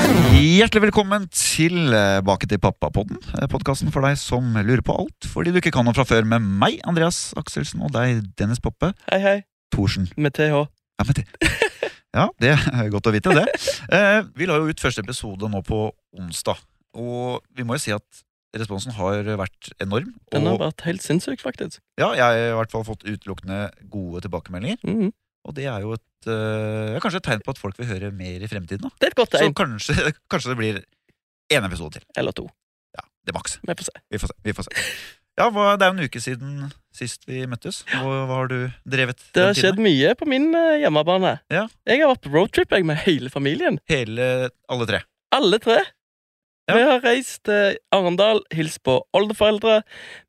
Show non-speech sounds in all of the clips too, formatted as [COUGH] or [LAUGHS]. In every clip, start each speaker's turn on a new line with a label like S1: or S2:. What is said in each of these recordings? S1: Hjertelig velkommen tilbake til Pappapodden. eh, Podkasten for deg som lurer på alt fordi du ikke kan noe fra før. Med meg, Andreas Akselsen, og deg, Dennis Poppe
S2: Hei, hei.
S1: Thorsen.
S2: Med TH.
S1: Ja, men det, [LAUGHS] ja, det er godt å vite, det. Eh, vi la jo ut første episode nå på onsdag, og vi må jo si at responsen har vært enorm.
S2: Den har
S1: Og
S2: vært helt sinnssyk, faktisk.
S1: ja, jeg har i hvert fall fått utelukkende gode tilbakemeldinger,
S2: Mhm.
S1: og det er jo et, eh, kanskje et tegn på at folk vil høre mer i fremtiden. da
S2: Det er et godt
S1: Så
S2: tegn.
S1: kanskje, [LAUGHS] kanskje det blir én episode til.
S2: Eller to.
S1: Det er maks.
S2: Vi får se.
S1: Vi får se. Vi får se. Ja, hva, Det er jo en uke siden sist vi møttes. Hva, hva har du drevet?
S2: Det
S1: den
S2: har
S1: tiden
S2: skjedd mye på min eh, hjemmebane.
S1: Ja.
S2: Jeg har vært på roadtrip jeg, med hele familien.
S1: med? Hele, alle tre.
S2: Alle tre.
S1: Ja.
S2: Vi har reist til Arendal, hilst på oldeforeldre.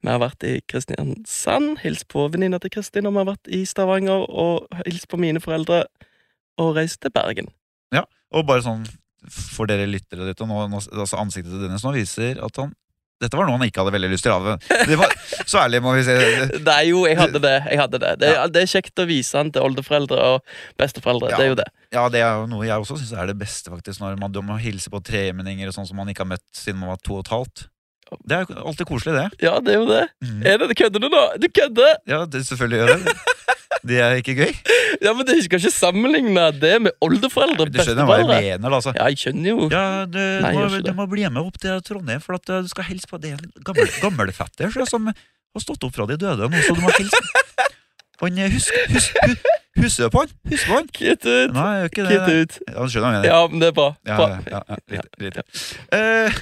S2: Vi har vært i Kristiansand, hilst på venninna til Kristin. Og vi har vært i Stavanger og hilst på mine foreldre. Og reist til Bergen.
S1: Og bare sånn for dere lyttere dette, nå, nå, altså ansiktet til Dennis nå viser at han Dette var noe han ikke hadde veldig lyst til. Ja, Det det var,
S2: [LAUGHS]
S1: så ærlig må vi si.
S2: Nei, jo, jeg hadde det. Jeg hadde det. Det, er, det er kjekt å vise han til oldeforeldre og besteforeldre.
S1: Ja.
S2: Det er jo det.
S1: Ja, det er jo noe jeg også syns er det beste, faktisk. Når man må hilse på tremenninger og sånn som man ikke har møtt siden man var to og et halvt. Det er jo alltid koselig, det.
S2: Ja, det er jo det.
S1: Mm.
S2: Er det, kødder du nå? Du kødder!
S1: Ja, det, selvfølgelig gjør
S2: [LAUGHS]
S1: det det. Det er ikke gøy.
S2: Ja, men Du skal ikke sammenligne det med oldeforeldre.
S1: Du skjønner hva jeg
S2: besteforeldre.
S1: mener, da. Altså.
S2: Ja, jeg skjønner jo.
S1: Ja, du,
S2: Nei,
S1: du,
S2: jeg
S1: må,
S2: gjør ikke
S1: du
S2: det.
S1: må bli med opp til Trondheim, for at eh, du skal hilse på det er en gammel, gammelfetter så, som har stått opp fra de døde nå, så du må hilse. Han eh, husk, husk, husk, Husker du på han? Husker du på han?
S2: Kutt ut!
S1: Nei, jeg gjør ikke det.
S2: Kutt ut.
S1: Ja, du skjønner hva jeg mener.
S2: Ja, men det er bra.
S1: Ja,
S2: bra.
S1: ja, ja, litt, litt. Eh, [LAUGHS]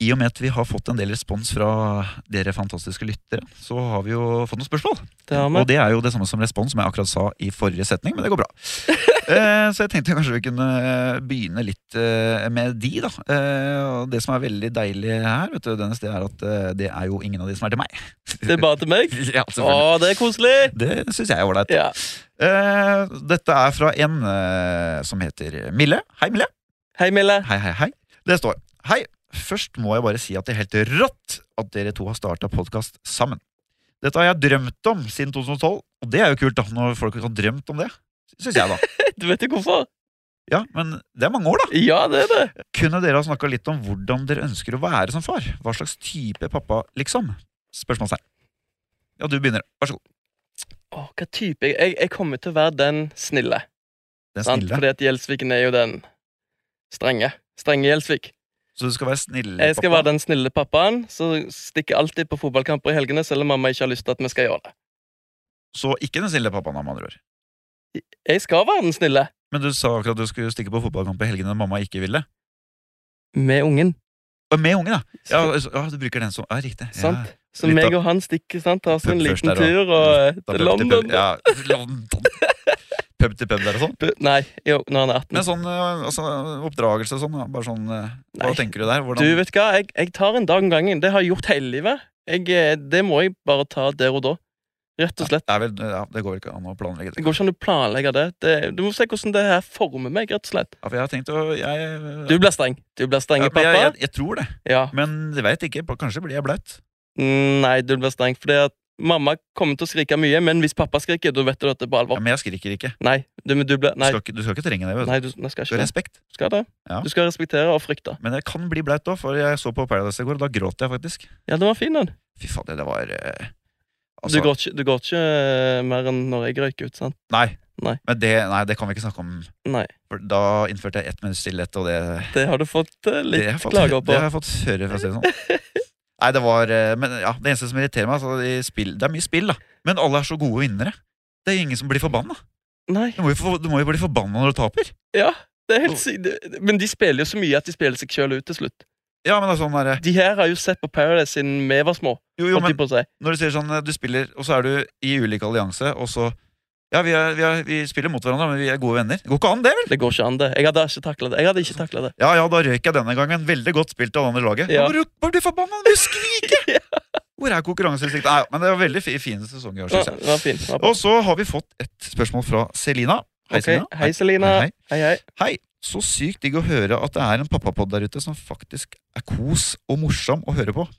S1: I og med at vi har fått en del respons fra dere fantastiske lyttere, så har vi jo fått noen spørsmål.
S2: Det har vi.
S1: Og det er jo det samme som respons, som jeg akkurat sa i forrige setning, men det
S2: [LAUGHS]
S1: går bra. Eh, så jeg tenkte kanskje vi kunne eh, begynne litt eh, med de, da. Eh, og det som er veldig deilig her, vet du, Dennis, det er at eh, det er jo ingen av de som er til
S2: [LAUGHS]
S1: meg.
S2: Det er bare til meg.
S1: [LAUGHS] ja,
S2: Å,
S1: selvfølgelig.
S2: det er koselig!
S1: Det syns jeg er ålreit.
S2: Ja.
S1: Eh, dette er fra en eh, som heter Mille. Hei, Mille.
S2: Hei, Mille.
S1: Hei, hei, hei. Det står Hei, først må jeg bare si at det er helt rått at dere to har starta podkast sammen. Dette har jeg drømt om siden 2012, og det er jo kult, da, når folk har drømt om det. Syns jeg, da.
S2: Du vet jo hvorfor?
S1: Ja, men det er mange år, da.
S2: Ja, det er det.
S1: Kunne dere ha snakka litt om hvordan dere ønsker å være som far? Hva slags type pappa, liksom? Spørsmålstegn. Ja, du begynner. Vær så god.
S2: Å, hva type? Jeg- Jeg, jeg kommer til å være den snille.
S1: Den
S2: sant?
S1: snille.
S2: Fordi at Gjelsviken er jo den strenge. Strenge Gjelsvik.
S1: Så du skal være snill?
S2: Jeg skal
S1: pappa.
S2: være den snille pappaen som stikker alltid på fotballkamper i helgene, selv om mamma ikke har lyst til at vi skal gjøre det.
S1: Så ikke den snille pappaen, da, med andre ord.
S2: Jeg skal være den snille.
S1: Men du sa akkurat du skulle stikke på fotballkamp i helgene mamma ikke ville.
S2: Med ungen.
S1: Og med unge, da. Ja, altså, ja, du bruker den som Ja, riktig. Ja.
S2: Sant? Så
S1: Litt
S2: meg
S1: av-
S2: og han stikker, sant? tar oss en
S1: Pub først der,
S2: liten
S1: og-
S2: tur og,
S1: Da
S2: eh, til
S1: pub til
S2: London.
S1: Pub, ja, London. [LAUGHS] pub til pub der og sånn.
S2: Bu- Nei, jo, når han er 18.
S1: Men sånn eh, altså, oppdragelse og sånn, da, bare sånn eh, Hva
S2: Nei.
S1: tenker du der? Hvordan,
S2: Du vet hva, jeg, jeg tar en dag om gangen. Det har jeg gjort hele livet. Jeg, eh, det må jeg bare ta der og da. Rett og slett.
S1: Det er vel, ja, det går ikke an å planlegge
S2: Det
S1: det.
S2: går ikke an å planlegge det. det. Du må se hvordan det her former meg, rett og slett.
S1: Ja, for jeg har tenkt å jeg,
S2: Du blir streng. Du blir streng,
S1: ja, men jeg, jeg,
S2: pappa.
S1: jeg tror det,
S2: Ja. Mm,
S1: men jeg veit ikke. Kanskje blir jeg blaut.
S2: Nei, du blir streng, fordi at mamma kommer til å skrike mye, men hvis pappa skriker, da vet du at det er på
S1: Ja,
S2: alvor.
S1: men jeg skriker ikke. Du
S2: Nei, du, men du blir Nei,
S1: skal ikke, du skal ikke trenge det. Vet. du.
S2: nei du nei, skal
S1: Du
S2: ikke
S1: har
S2: det.
S1: respekt.
S2: Du skal det.
S1: Ja.
S2: Du skal respektere og frykte.
S1: Men jeg kan bli blaut òg, for jeg så på Paradise i går, og da gråt jeg faktisk.
S2: Ja, den var fin, den.
S1: Fy fader, det var eh,
S2: du, går ikke, du går ikke eh, mer enn når jeg røyker ut, sant?
S1: Nei.
S2: Nei.
S1: Men det, nei, det kan vi ikke snakke om.
S2: Nei.
S1: For da innførte jeg ett minutts stillhet, og det
S2: Det har du fått eh,
S1: det har
S2: litt
S1: jeg fått-
S2: klager på.
S1: Det har jeg fått høre, for å si det sånn. Nei, det var eh, Men ja, det eneste som irriterer meg, altså, i spill, det er mye spill, da. Men alle er så gode vinnere. Det er ingen som blir forbanna.
S2: Nei,
S1: Du må jo, få- du må jo bli forbanna når du taper.
S2: det er helt sykt. Det- Men de spiller jo så mye at de spiller seg sjøl ut til slutt.
S1: Ja, men det er sånn der, eh,
S2: De her har jo sett på Paradise siden vi var små.
S1: jo, jo,
S2: holdt
S1: men
S2: de på å si.
S1: Når du sier sånn eh, Du spiller, og så er du i ulik allianse, og så Ja, vi, er, vi, er, vi spiller mot hverandre, men vi er gode venner. Det går ikke an, det, vel?
S2: Det går ikke an, det. Jeg hadde ikke takla det. Jeg hadde ikke taklet det.
S1: Ja, ja, da røyk jeg denne gangen. Veldig godt spilt av det andre laget.
S2: Ja.
S1: Nå må du bare bli forbanna! Du
S2: [LAUGHS]
S1: skriker! Hvor er konkurranseinstiktet? Nei, men det var veldig fi- fin sesong i år,
S2: Ja,
S1: syns jeg.
S2: det var fint. Det var bra.
S1: Og så har vi fått et spørsmål fra Selina. Hei,
S2: Ok,
S1: Selina.
S2: Hei, Selina.
S1: Hei,
S2: Hei, hei.
S1: Hei. Så sykt digg å høre at det er en pappapod der ute som faktisk er kos og morsom å høre på.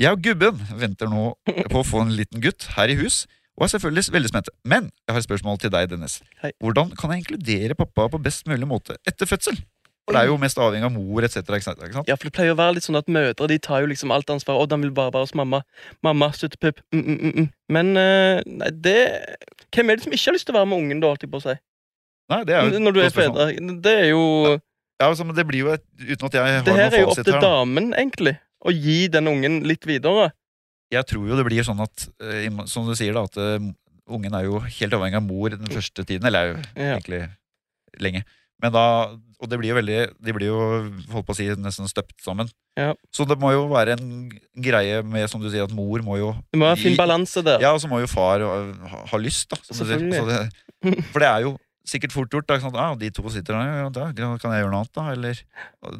S1: Jeg og gubben venter nå
S2: [LAUGHS]
S1: på å få en liten gutt her i hus, og er selvfølgelig veldig spente. Men jeg har et spørsmål til deg, Dennis.
S2: Hei.
S1: Hvordan kan jeg inkludere pappa på best mulig måte etter fødsel? For det er jo mest avhengig av mor etc. Ikke sant? Ikke sant?
S2: Ja, for det pleier å være litt sånn at mødre de tar jo liksom alt ansvaret. 'Å, den vil bare være hos mamma. Mamma, suttepupp.' Mm, mm, mm, mm. Men eh, nei, det Hvem er det som ikke har lyst til å være med ungen, da, holdt jeg på å si?
S1: Nei, det er jo
S2: Når du
S1: et
S2: er
S1: godt spørsmål.
S2: fedre. Det er jo
S1: Ja, altså, men det blir jo et, Uten at jeg har
S2: Det
S1: noen
S2: her er jo opp
S1: fasit
S2: til
S1: her, da.
S2: damen, egentlig. Å gi den ungen litt videre.
S1: jeg tror jo det blir sånn at eh, i- Som du sier, da, at eh, ungen er jo helt avhengig av mor den første tiden. Eller er jo
S2: Ja.
S1: egentlig lenge. Men da, og det blir jo veldig, de blir jo holdt på å si, nesten støpt sammen.
S2: Ja.
S1: Så det må jo være en greie med som du sier, at mor må jo
S2: Det må være fin
S1: gi-
S2: balanse der.
S1: Ja, og så må jo far øh, ha, ha lyst, da. Som du sier.
S2: Selvfølgelig.
S1: Så det, for det er jo sikkert fort gjort. Da, ikke sant? Ah, de to sitter der, ja, da kan jeg gjøre noe annet, da? Eller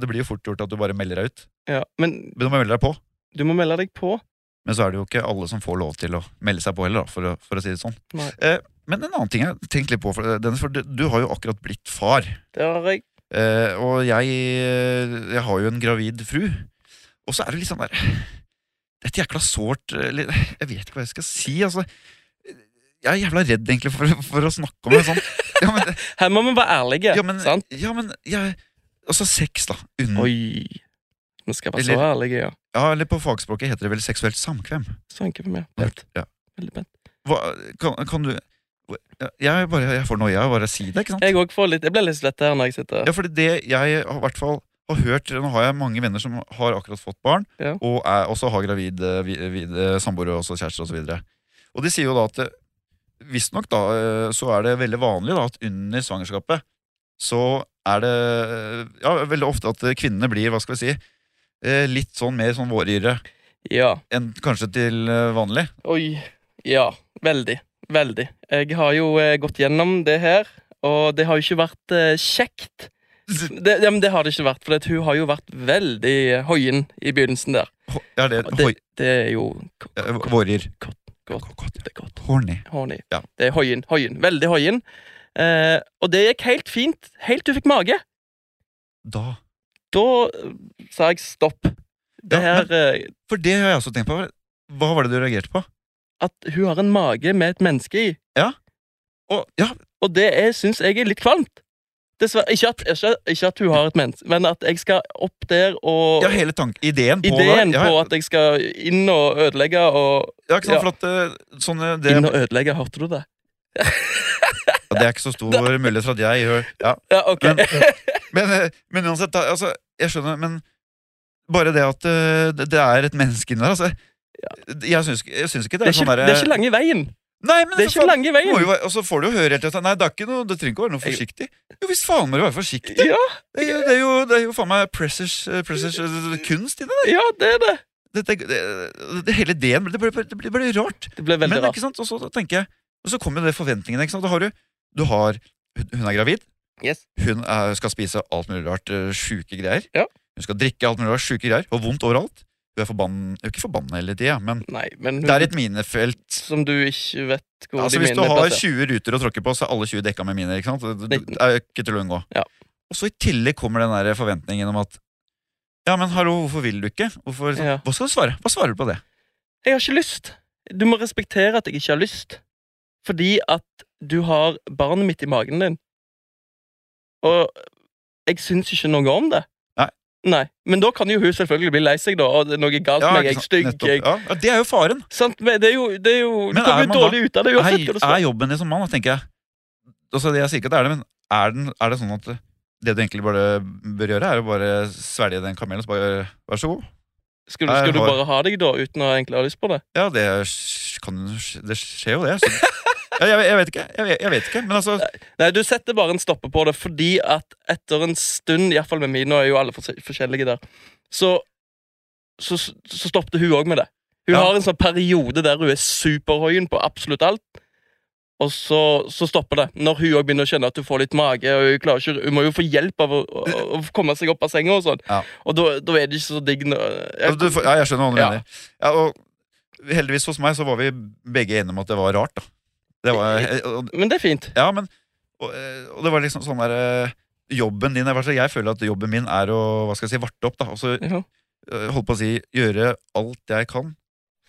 S1: Det blir jo fort gjort at du bare melder deg ut.
S2: Ja. Men
S1: Men du må melde deg på.
S2: du må melde deg på.
S1: Men så er det jo ikke alle som får lov til å melde seg på heller, da, for, å, for å si det sånn.
S2: Nei.
S1: Eh, men en annen ting jeg har tenkt litt på, for, Dennis, for du, du har jo akkurat blitt far.
S2: Det har jeg.
S1: Eh, og jeg, eh, jeg har jo en gravid fru. Og så er det litt sånn der Det er et jækla sårt eh, li- Jeg vet ikke hva jeg skal si. Altså, jeg er jævla redd egentlig for, for å snakke om det
S2: [LAUGHS]
S1: sånn. Ja, men,
S2: Her må vi være ærlige,
S1: ja, men,
S2: sant?
S1: ja, men jeg, Altså sex, da. Under,
S2: Oi. Vi skal være så
S1: Eller-
S2: ærlige, ja.
S1: ja, eller på fagspråket heter det vel seksuelt samkvem.
S2: Så enkelt for meg. Pent.
S1: Ja.
S2: Veldig pent.
S1: Hva, kan, kan du Jeg, bare, jeg får noia av bare å si det, ikke sant?
S2: Jeg òg får litt Jeg blir litt svett her når jeg sitter her.
S1: Ja, fordi det jeg har, i hvert fall har hørt Nå har jeg mange venner som har akkurat fått barn,
S2: Ja.
S1: og er, også har gravid eh, vi- vid- eh, samboere og også kjærester osv. Og, så videre. og de sier jo da at visstnok da eh, så er det veldig vanlig da at under svangerskapet så er det eh, ja, veldig ofte at kvinnene blir, hva skal vi si, eh, litt sånn mer sånn våryre
S2: ja.
S1: enn kanskje til eh, vanlig.
S2: Oi. Ja, veldig. Veldig. Jeg har jo eh, gått gjennom det her, og det har jo ikke vært eh, kjekt. Det, ja, men det har det ikke vært, for at hun har jo vært veldig eh, hoien i begynnelsen der.
S1: Ho- Er det,
S2: Og
S1: hoi,
S2: det, det er jo k-
S1: eh, våryr?
S2: Godt, godt.
S1: Godt.
S2: det er godt.
S1: Horny.
S2: Horny.
S1: Ja.
S2: Det er hoien. Hoien. Veldig hoien. Eh, og det gikk helt fint, helt til hun fikk mage.
S1: Da
S2: Da eh, sa jeg stopp.
S1: Ja,
S2: Det her eh,
S1: For det har jeg også tenkt på. Hva var det du reagerte på?
S2: At hun har en mage med et menneske i.
S1: Å, ja,
S2: Og det er- syns jeg er litt kvalmt. Dessverre. Ikke at, ikke, ikke at hun har et menneske, men at jeg skal opp der og
S1: Ja, hele tanken, ideen på
S2: Ideen
S1: det. Ja,
S2: på at jeg skal inn og ødelegge og
S1: ja, ikke sant,
S2: ja.
S1: for at eh, sånne, det,
S2: Inn og ødelegge, hørte du det?
S1: det er ikke så stor mulighet for at jeg gjør ja.
S2: Ja, ok.
S1: Men- men, eh, men uansett, da, altså, jeg skjønner, men bare det at eh, det det er et menneske inni der, altså Jeg syns, jeg syns ikke det er,
S2: Det er ikke,
S1: sånn derre
S2: det er ikke lange veien.
S1: Nei, men altså,
S2: Det er
S1: så
S2: ikke
S1: faen,
S2: lange
S1: må
S2: veien.
S1: jo være- Og så får du jo høre hele tiden at Nei, det er ikke noe, det trenger ikke å være noe forsiktig. Jo visst faen må du være forsiktig.
S2: Ja,
S1: Det, er- det er jo, det er jo faen meg pressers, eh, pressers eh, kunst i det.
S2: ja, det er det.
S1: Det, det, det, det hele ideen det blir bare- det blir bare rart.
S2: Det ble veldig
S1: Men
S2: rart.
S1: ikke sant, og så tenker jeg Og så kommer jo det forventningene, ikke sant Da har du, du har, hun hun er gravid
S2: Yes.
S1: Hun er, skal spise alt mulig rart øh, Sjuke greier
S2: Ja.
S1: Hun skal drikke alt mulig rart Sjuke greier Har vondt overalt Hun er forbannet Hun er ikke forbannet hele tiden Men
S2: Nei, men
S1: det er et minefelt
S2: som du ikke vet hvor
S1: Altså
S2: de
S1: hvis du
S2: mine er
S1: har
S2: plassert.
S1: 20 ruter å tråkke på Så er alle 20 dekka med miner, ikke sant Det- Det
S2: Nitten.
S1: det er jo ikke til å unngå
S2: Ja.
S1: Og så i tillegg kommer den der forventningen om at Ja, men hallo, hvorfor vil du ikke? Hvorfor,
S2: Ja.
S1: Hva skal du svare? Hva svarer du på det?
S2: Jeg har ikke lyst. Du må respektere at jeg ikke har lyst. Fordi at du har barnet mitt i magen din. Og jeg syns ikke noe om det.
S1: Nei.
S2: Nei. Men da kan jo hun selvfølgelig bli lei seg, da. Og det er noe galt med meg.
S1: ikke
S2: Jeg er
S1: sant?
S2: stygg.
S1: Nettopp.
S2: Jeg,
S1: ja, ja, det er jo faren
S2: sant? Men det er jo, det er jo Du
S1: Men er
S2: kommer jo
S1: man da-
S2: dårlig ut av det uansett
S1: er,
S2: hva du svarer.
S1: er jobben din som mann, da, tenker jeg. Altså, det jeg sier ikke at det er det, men er, den, er det sånn at det du egentlig bare bør gjøre, er å bare svelge den kamelen og så bare Vær så god.
S2: Skulle,
S1: jeg
S2: skulle du
S1: har-
S2: bare ha deg, da, uten å egentlig ha lyst på det?
S1: Ja, det, sk- kan, det skjer jo, det. Så.
S2: [LAUGHS]
S1: Ja, jeg, jeg vet ikke. Jeg, vet- jeg vet ikke. Men altså
S2: Nei, du setter bare en stopper på det, fordi at etter en stund, iallfall med mine, nå er jo alle fors- forskjellige der, så, så, så stoppet hun òg med det. Hun
S1: Ja.
S2: har en sånn periode der hun er superhøyen på absolutt alt, og så, så stopper det. Når hun òg begynner å kjenne at hun får litt mage, og hun, klarer ikke, hun må jo få hjelp av å, å, å komme seg opp av senga og sånn,
S1: Ja.
S2: og da da er det ikke så digg når-
S1: ja, du, får- ja, jeg skjønner hva du
S2: Ja.
S1: mener. Ja, og heldigvis hos meg så var vi begge enige om at det var rart, da. Det var, og,
S2: Men det er fint.
S1: ja, men og, eh, og det var liksom sånn der eh, Jobben din, i hvert fall jeg føler at jobben min er å hva skal jeg si, varte opp, da. Og så
S2: Ja.
S1: eh, holdt på å si, gjøre alt jeg kan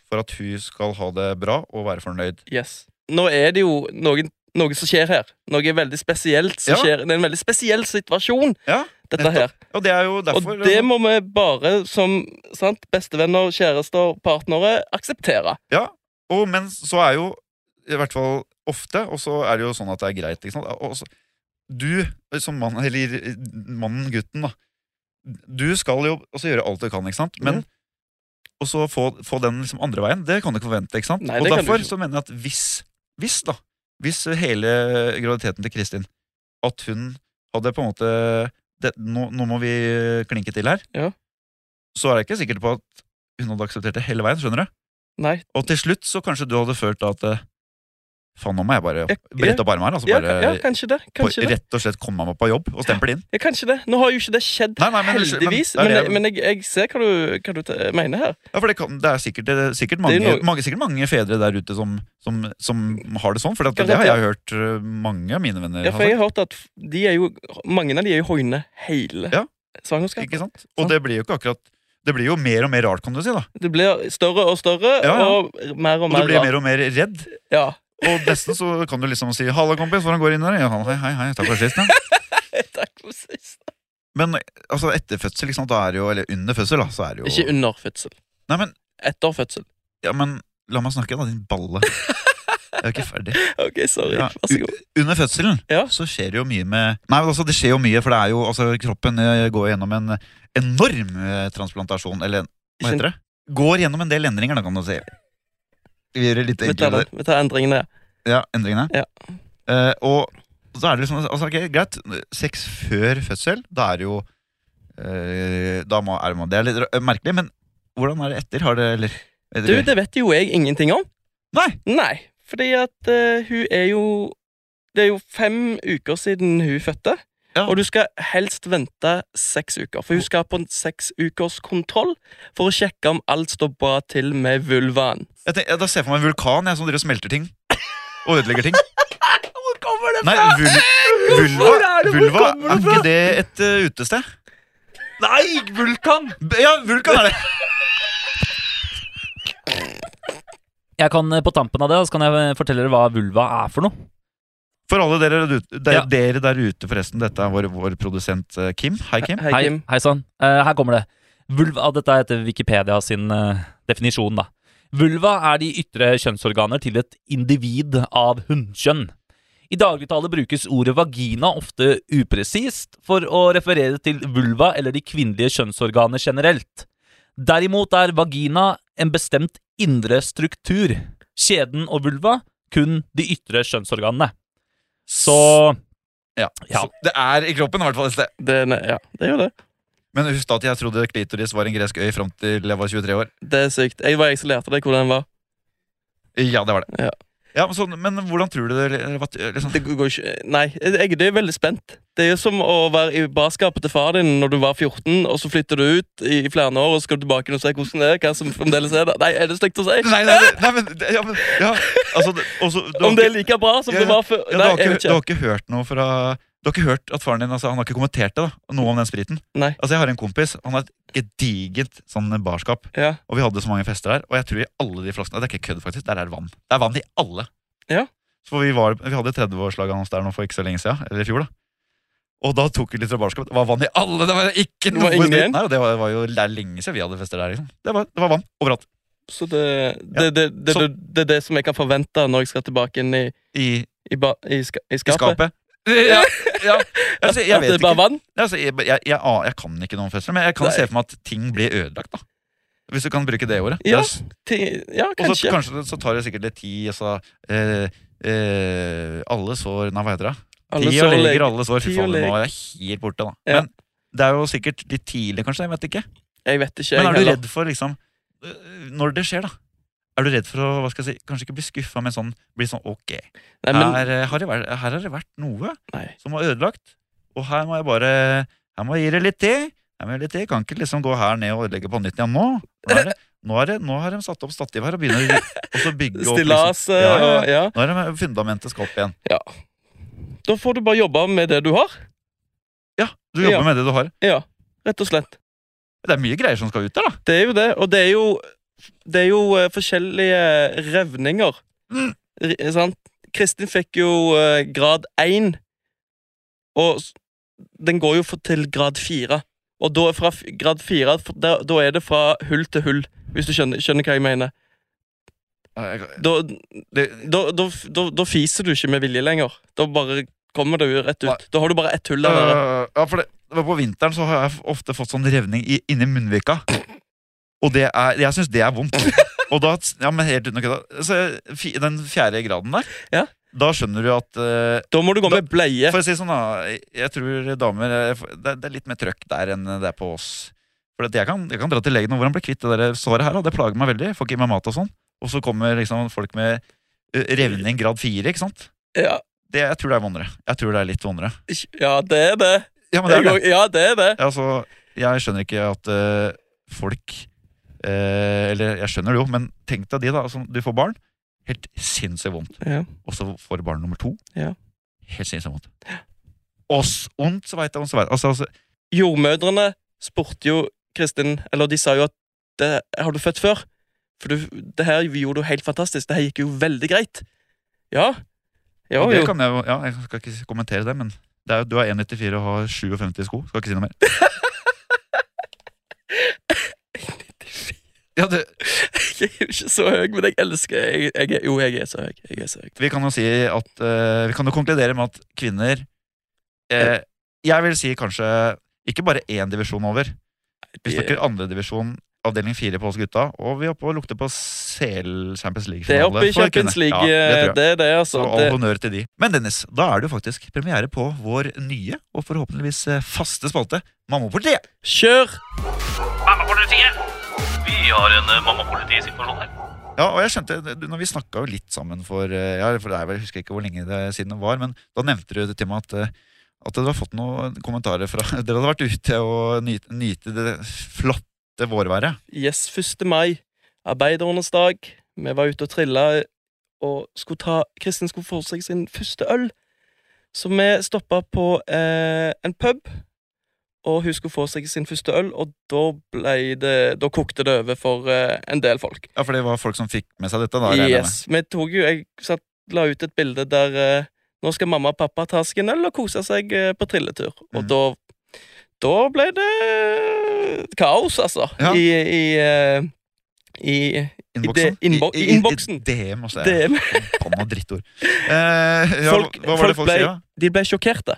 S1: for at hun skal ha det bra og være fornøyd.
S2: Yes. Nå er det jo noen, noe som skjer her. Noe veldig spesielt som
S1: Ja.
S2: skjer. Det er en veldig spesiell situasjon.
S1: Ja.
S2: dette her.
S1: Og det sånn. er jo derfor
S2: Og det må vi bare som sant, bestevenner, kjærester, partnere akseptere.
S1: Ja, og, men så er jo i hvert fall ofte, og så er det jo sånn at det er greit. Ikke sant? Og så, du som mann, eller eh, mannen, gutten, da. Du skal jo også gjøre alt du kan, ikke sant? Men
S2: Mhm.
S1: og så få, få den liksom andre veien, det kan du ikke forvente. ikke sant?
S2: Nei,
S1: og
S2: det kan du
S1: derfor
S2: ikke.
S1: så mener jeg at hvis, hvis da, hvis hele graviditeten til Kristin, at hun hadde på en måte det, nå, nå må vi klinke til her,
S2: Ja.
S1: så er jeg ikke sikker på at hun hadde akseptert det hele veien, skjønner du?
S2: Nei.
S1: Og til slutt så kanskje du hadde følt at eh, Faen, nå må jeg bare
S2: Ja,
S1: brette opp armene her. Altså
S2: Ja,
S1: bare
S2: ja, kanskje det.
S1: på,
S2: Kanskje det.
S1: rett og slett komme meg på jobb og stemple inn.
S2: Ja, kanskje det. Nå har jo ikke det skjedd,
S1: Nei, nei, men unnskyld, men
S2: heldigvis.
S1: det er
S2: Men,
S1: det-
S2: men, jeg, jeg ser hva du, hva du te- mener her.
S1: Ja, for det, kan, det er sikkert, det er sikkert,
S2: Det
S1: mange,
S2: er noe-
S1: mange, sikkert mange fedre der ute som, som, som har det sånn. For det, det har jeg hørt eh, mange av mine venner
S2: Ja,
S1: har
S2: for jeg
S1: sagt.
S2: har hørt at f- de er jo, mange av de er jo hoine hele
S1: Ja.
S2: svangerskapet.
S1: Ikke sant? Og det blir jo ikke akkurat Det blir jo mer og mer rart, kan du si. da
S2: Det blir større og større,
S1: Ja, ja.
S2: og mer
S1: Og
S2: og
S1: du
S2: mer
S1: blir
S2: rart.
S1: mer og mer redd.
S2: Ja. [LAUGHS]
S1: Og nesten så kan du liksom si 'halla, kompis, hvordan går det inn der?' Ja, hei, hei, hei, takk for sist. Ja.
S2: Takk for sist.
S1: Men altså, etter fødsel, ikke sant, da er det jo, eller under fødsel, da, så er det jo
S2: Ikke under fødsel.
S1: Nei, men
S2: Etter fødsel.
S1: Ja, men la meg snakke, da, din balle. Jeg er jo ikke
S2: [LAUGHS]
S1: ferdig.
S2: OK, sorry.
S1: Ja,
S2: Vær så god.
S1: u- under fødselen
S2: Ja.
S1: så skjer det jo mye med Nei, men altså, det skjer jo mye, for det er jo altså, Kroppen eh, går gjennom en enorm eh, transplantasjon, eller hva heter det? Går gjennom en del endringer, da, kan du si. Vi gjør det litt
S2: Vi tar,
S1: enklere.
S2: den. vi tar endringene.
S1: Ja, endringene.
S2: Ja.
S1: Eh, og så er det liksom altså, ok, Greit, sex før fødsel, da er det jo eh, da må, er det, det er litt ra- merkelig, men hvordan er det etter? Har det, eller,
S2: Du, det vet jo jeg ingenting om.
S1: Nei!
S2: Nei, fordi at eh, hun er jo Det er jo fem uker siden hun fødte.
S1: Ja.
S2: Og du skal helst vente seks uker, for hun skal på en seks ukers kontroll for å sjekke om alt står bra til med vulvaen.
S1: Jeg tenk, jeg, da ser jeg for meg en vulkan jeg, som driver og smelter ting. Og ødelegger ting.
S2: [LAUGHS] Hvor kommer det
S1: Nei, vul, vulva,
S2: Hvor er det? Hvor
S1: vulva Er
S2: kommer det fra?
S1: ikke det et eh, utested?
S2: Nei, vulkan!
S1: B- Ja, vulkan er det!
S3: Jeg kan eh, På tampen av det så kan jeg eh, fortelle dere hva vulva er for noe.
S1: For alle dere, der ute- der,
S3: Ja.
S1: dere der ute, forresten. Dette er vår, vår produsent eh, Kim. Hei, Kim.
S2: Hei, Kim.
S3: hei sann. Eh, her kommer det. Vulva, ah, Dette er etter Wikipedia sin eh, definisjon, da. Vulva er de ytre kjønnsorganer til et individ av hunnkjønn. I dagligtale brukes ordet vagina ofte upresist for å referere til vulva eller de kvinnelige kjønnsorganer generelt. Derimot er vagina en bestemt indre struktur. Kjeden og vulva kun de ytre kjønnsorganene. Så
S1: Ja.
S3: Ja.
S1: Så det er i kroppen, i hvert fall et sted.
S2: Det, er- ja, det er jo det.
S1: Men husk da at jeg trodde klitoris var en gresk øy fram til jeg var 23 år.
S2: Det er sykt. Jeg var jeg som lærte deg hvordan den var.
S1: Ja, det var det.
S2: Ja.
S1: Ja, men, sånn, men hvordan tror du det eller hva- liksom,
S2: Det går ikke Nei, jeg det er veldig spent. Det er jo som å være i barskapet til far din når du var 14, og så flytter du ut i i flere år, og så skal du tilbake og se hvordan det er. Hva som fremdeles er der. Nei, er det stygt å si?
S1: Nei, nei, nei, nei, men, ja, men ja, altså, det- også, du har
S2: Om det
S1: ikke-
S2: er like bra som
S1: Ja,
S2: det var før?
S1: Ja,
S2: Nei,
S1: du, har
S2: jeg
S1: ikke,
S2: vet
S1: du
S2: ikke.
S1: har ikke hørt noe fra Du har ikke hørt at faren din altså, Han har ikke kommentert det da noe om den spriten?
S2: Nei.
S1: Altså Jeg har en kompis. Han har et gedigent sånn barskap.
S2: Ja.
S1: Og vi hadde så mange fester der. Og jeg tror i alle de flaskene Det er ikke kødd, faktisk. Der er det vann. Det er vann i alle.
S2: Ja.
S1: Så vi, var, vi hadde 30-årslaget hans der nå for ikke så lenge siden. Eller i fjor, da. Og da tok vi litt fra barskapet. Det var vann i alle! Det var ikke
S2: var
S1: noe
S2: ingen
S1: sprit.
S2: igjen?
S1: Nei, og det var, var jo det er lenge siden vi hadde fester der. Liksom. Det, var, det var vann overalt.
S2: Så det, det, det, det,
S1: Så-
S2: det, det er det som jeg kan forvente når jeg skal tilbake inn i,
S1: I,
S2: i, ba, i, ska, i
S1: i
S2: skapet.
S1: skapet. Ja,
S2: [LAUGHS]
S1: ja. Altså, jeg
S2: At det
S1: vet
S2: er bare
S1: ikke.
S2: vann?
S1: Ja, altså, jeg, jeg, jeg, aner- jeg kan ikke noen fødsler, men jeg kan
S2: Nei.
S1: se for meg at ting blir ødelagt. da Hvis du kan bruke det ordet.
S2: Ja,
S1: Yes.
S2: Ti- Ja,
S1: Og så
S2: kanskje.
S1: kanskje det- så tar det sikkert litt tid. Altså, eh, eh, alle sår Nei, hva heter det?
S2: Alle
S1: Tid
S2: så
S1: og leger,
S2: leger.
S1: alle sår. Fy
S2: Tid og
S1: faen, nå
S2: leger.
S1: er jeg helt borte, da.
S2: Ja.
S1: Men det er jo sikkert litt tidlig, kanskje. Jeg vet ikke.
S2: Jeg vet ikke,
S1: Men
S2: jeg
S1: er du
S2: heller.
S1: redd for liksom øh, Når det skjer, da. Er du redd for å hva skal jeg si, kanskje ikke bli skuffa, men sånn, bli sånn ok,
S2: Nei, men,
S1: her, eh, har det vært, her har det vært noe
S2: nei.
S1: som var ødelagt. Og her må jeg bare Her må jeg gi det litt til. Her må jeg gi det til. Jeg kan ikke liksom gå her ned og ødelegge på nytt igjen nå. Nå, er det, nå, er det, nå har de satt opp stativ her og begynner å og så bygge opp liksom.
S2: Stillaset
S1: Ja, ja, ja.
S2: og ja.
S1: Nå er det fundamentet skal opp igjen.
S2: Da får du bare jobbe med det du har.
S1: Ja, du jobber
S2: Ja.
S1: med det du har.
S2: Ja, rett og slett.
S1: Det er mye greier som skal ut der, da.
S2: Det er jo det, og det er jo Det er jo eh, forskjellige revninger.
S1: Mm.
S2: Ri- Sant? Kristin fikk jo eh, grad 1 eh, og s- den går jo for, til grad fire. Og da er fra f- grad fire for da, da er det fra hull til hull, hvis du skjønner, skjønner hva jeg mener. Da,
S1: Det,
S2: da, da, f- da, da fiser du ikke med vilje lenger. Da bare kommer det jo rett
S1: Nei.
S2: ut. Da har du bare ett hull der. nede.
S1: Øh, ja, for det, det var på vinteren så har jeg f- ofte fått sånn revning i, inni munnvika. Og det er, jeg syns det er
S2: [LAUGHS]
S1: vondt. Og da, ja, men helt uten å kødde Så fi- Den fjerde graden der,
S2: Ja.
S1: da skjønner du at øh,
S2: Da må du gå
S1: Da-
S2: med bleie.
S1: For å si det sånn, da. jeg- Jeg tror damer eh, f- Det, det er litt mer trøkk der enn det er på oss. For at jeg, kan, jeg kan dra til legen og hvordan bli kvitt det der såret her. da. Det plager meg veldig. Jeg Får ikke i meg mat og sånn. Og så kommer liksom folk med eh, revning grad fire, ikke sant.
S2: Ja,
S1: Det, jeg tror det er vondere. Jeg tror det er litt vondere.
S2: ikke- ja, det er det.
S1: Ja, men det er det.
S2: Ja, det er det.
S1: Altså, jeg skjønner ikke at eh, folk eh, Eller jeg skjønner det jo, men tenk deg de, da. Som du får barn. Helt sinnssykt vondt.
S2: Ja.
S1: Og så får du barn nummer to.
S2: Ja.
S1: Helt sinnssykt vondt. Oss ondt, så veit jeg, og så veit jeg. Altså, altså,
S2: Jordmødrene spurte jo Kristin Eller de sa jo at det, 'Har du født før?' For du, det her gjorde du helt fantastisk. Det her gikk jo veldig greit. Ja. Ja,
S1: Og det
S2: jo.
S1: kan jeg, jo- ja, jeg skal ikke kommentere det, men det er, jo- du er 1,94 og har 57 i sko. Skal ikke si noe
S2: [LAUGHS]
S1: mer. Ja, det,
S2: [LAUGHS] Jeg er jo ikke så høy, men jeg elsker jeg, jeg, er- Jo, jeg er så høy. Jeg er så høy.
S1: vi kan jo si at eh, Vi kan jo konkludere med at kvinner eh, Jeg vil si kanskje ikke bare én divisjon over. Vi
S2: De-
S1: snakker andredivisjon, avdeling fire på oss gutta. Og vi er oppe og lukter på CL Champions
S2: Det er
S1: League-finale.
S2: oppe i
S1: for
S2: Champions
S1: kvinner.
S2: League.
S1: Ja, det tror jeg.
S2: det er det, altså.
S1: Så all
S2: Det,
S1: honnør til de. Men Dennis, da er det jo faktisk premiere på vår nye og forhåpentligvis eh, faste spalte Mammapolitiet.
S2: kjør!
S4: Mammapolitiet! Vi har en eh, mammapolitisituasjon her.
S1: Ja, og jeg skjønte, du, når Vi snakka jo litt sammen for, eh, ja, for det er vel, Jeg husker ikke hvor lenge det siden det var, men da nevnte du til meg at, eh, at dere har fått noen kommentarer fra [LAUGHS] Dere hadde vært ute og nyt, nyte det flotte vårværet.
S2: Yes, 1. mai. Arbeidernes dag. Vi var ute og trilla og skulle ta Kristin skulle få seg sin første øl. Så vi stoppa på eh, en pub, og hun skulle få seg sin første øl, og da ble det Da kokte det over for eh, en del folk.
S1: Ja, For det var folk som fikk med seg dette? da, regner jeg med.
S2: yes. Vi tok jo Jeg satt, la ut et bilde der eh, nå skal mamma og pappa ta seg en øl og kose seg eh, på trilletur. Og
S1: Mm.
S2: da Da ble det kaos, altså,
S1: Ja.
S2: i, i, eh, i
S1: Innboksen?
S2: I det- innbo-
S1: I- i-
S2: i innboksen.
S1: I DM, altså.
S2: Det-
S1: Forbanna drittord. Eh, ja,
S2: Folk-
S1: hva var det
S2: folk
S1: folk
S2: ble-
S1: sier, da?
S2: de ble sjokkerte.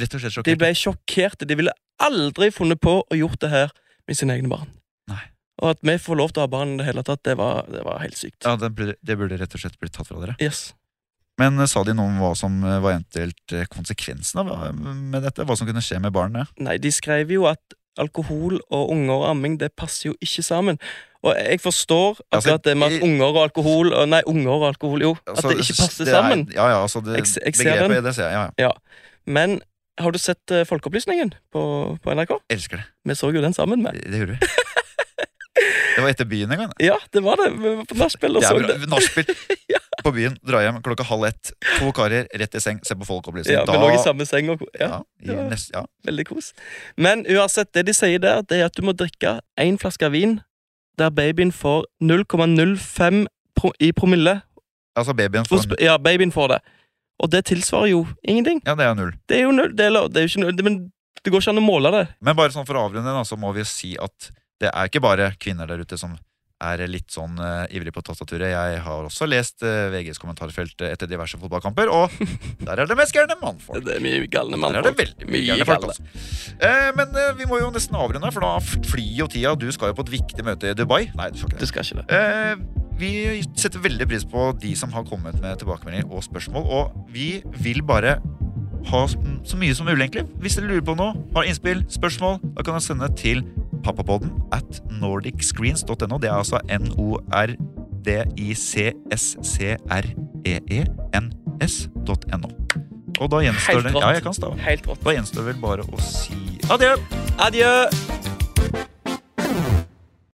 S1: Rett og slett
S2: De
S1: sjokkert.
S2: ble sjokkerte. De ville aldri funnet på å gjort det her med sine egne barn.
S1: Nei.
S2: Og at vi får lov til å ha barn i det hele tatt, det var, det var helt sykt.
S1: Ja, det burde, det burde rett og slett blitt tatt fra dere.
S2: Yes.
S1: Men eh, sa de noe om hva som eh, var eventuelt eh, konsekvensen av eh, med dette? Hva som kunne skje med barnet?
S2: Nei, de skrev jo at alkohol og unger og amming, det passer jo ikke sammen. Og jeg forstår
S1: Altså,
S2: akkurat det med at
S1: i-
S2: unger og alkohol og Nei, unger og alkohol, jo. At
S1: Altså,
S2: det ikke passer
S1: det er-
S2: sammen.
S1: Ja, ja, altså det,
S2: Jeg se- jeg ser
S1: begrepet
S2: den.
S1: det ser jeg. Ja, ja.
S2: Men har du sett eh, Folkeopplysningen på, på NRK?
S1: Elsker det.
S2: Vi så jo den sammen med.
S1: Det gjorde vi.
S2: [LAUGHS]
S1: Det var etter byen en gang.
S2: Ja, det var det. Vi var på nachspiel og
S1: Det
S2: så
S1: er
S2: det.
S1: bra. Nachspiel
S2: [LAUGHS]
S1: på byen, dra hjem klokka halv ett. To karer rett i seng, se på Folkeopplysning.
S2: Ja, vi lå i samme seng og ja.
S1: ja, i
S2: Ja.
S1: nest, ja.
S2: Veldig kos. Men uansett, det de sier der, det er at du må drikke én flaske vin der babyen får 0,05 pro i promille.
S1: Altså babyen
S2: Og
S1: får
S2: sp- Ja, babyen får det. Og det tilsvarer jo ingenting.
S1: Ja, det er null.
S2: Det er jo null. Det er, lov- det er jo ikke null, det- men det går ikke an å måle det.
S1: Men bare sånn for å avrunde, da, så må vi jo si at det er ikke bare kvinner der ute som er litt sånn eh, ivrig på tastaturet. Jeg har også lest eh, VGs kommentarfelt eh, etter diverse fotballkamper, [LAUGHS] og der er det mest gærne mannfolk.
S2: Det er mye galne
S1: Der er det veldig mye gærne folk, altså. Eh, men eh, vi må jo nesten avrunde, for da f- flyr jo tida. Du skal jo på et viktig møte i Dubai. Nei, du skal ikke det.
S2: Du skal ikke det.
S1: Eh, vi setter veldig pris på de som har kommet med tilbakemeldinger og spørsmål. Og vi vil bare ha s- så mye som mulig, egentlig. Hvis dere lurer på noe, har innspill, spørsmål, da kan dere sende til pappapodden at nordicscreens.no. Det er altså E n-o-r-d-i-c-s-c-r-e-e-n-s.no. Og da gjenstår
S2: Helt
S1: det
S2: rått.
S1: Ja, jeg kan stave.
S2: Helt rått.
S1: Da gjenstår vel bare å si adjø.
S2: Adjø.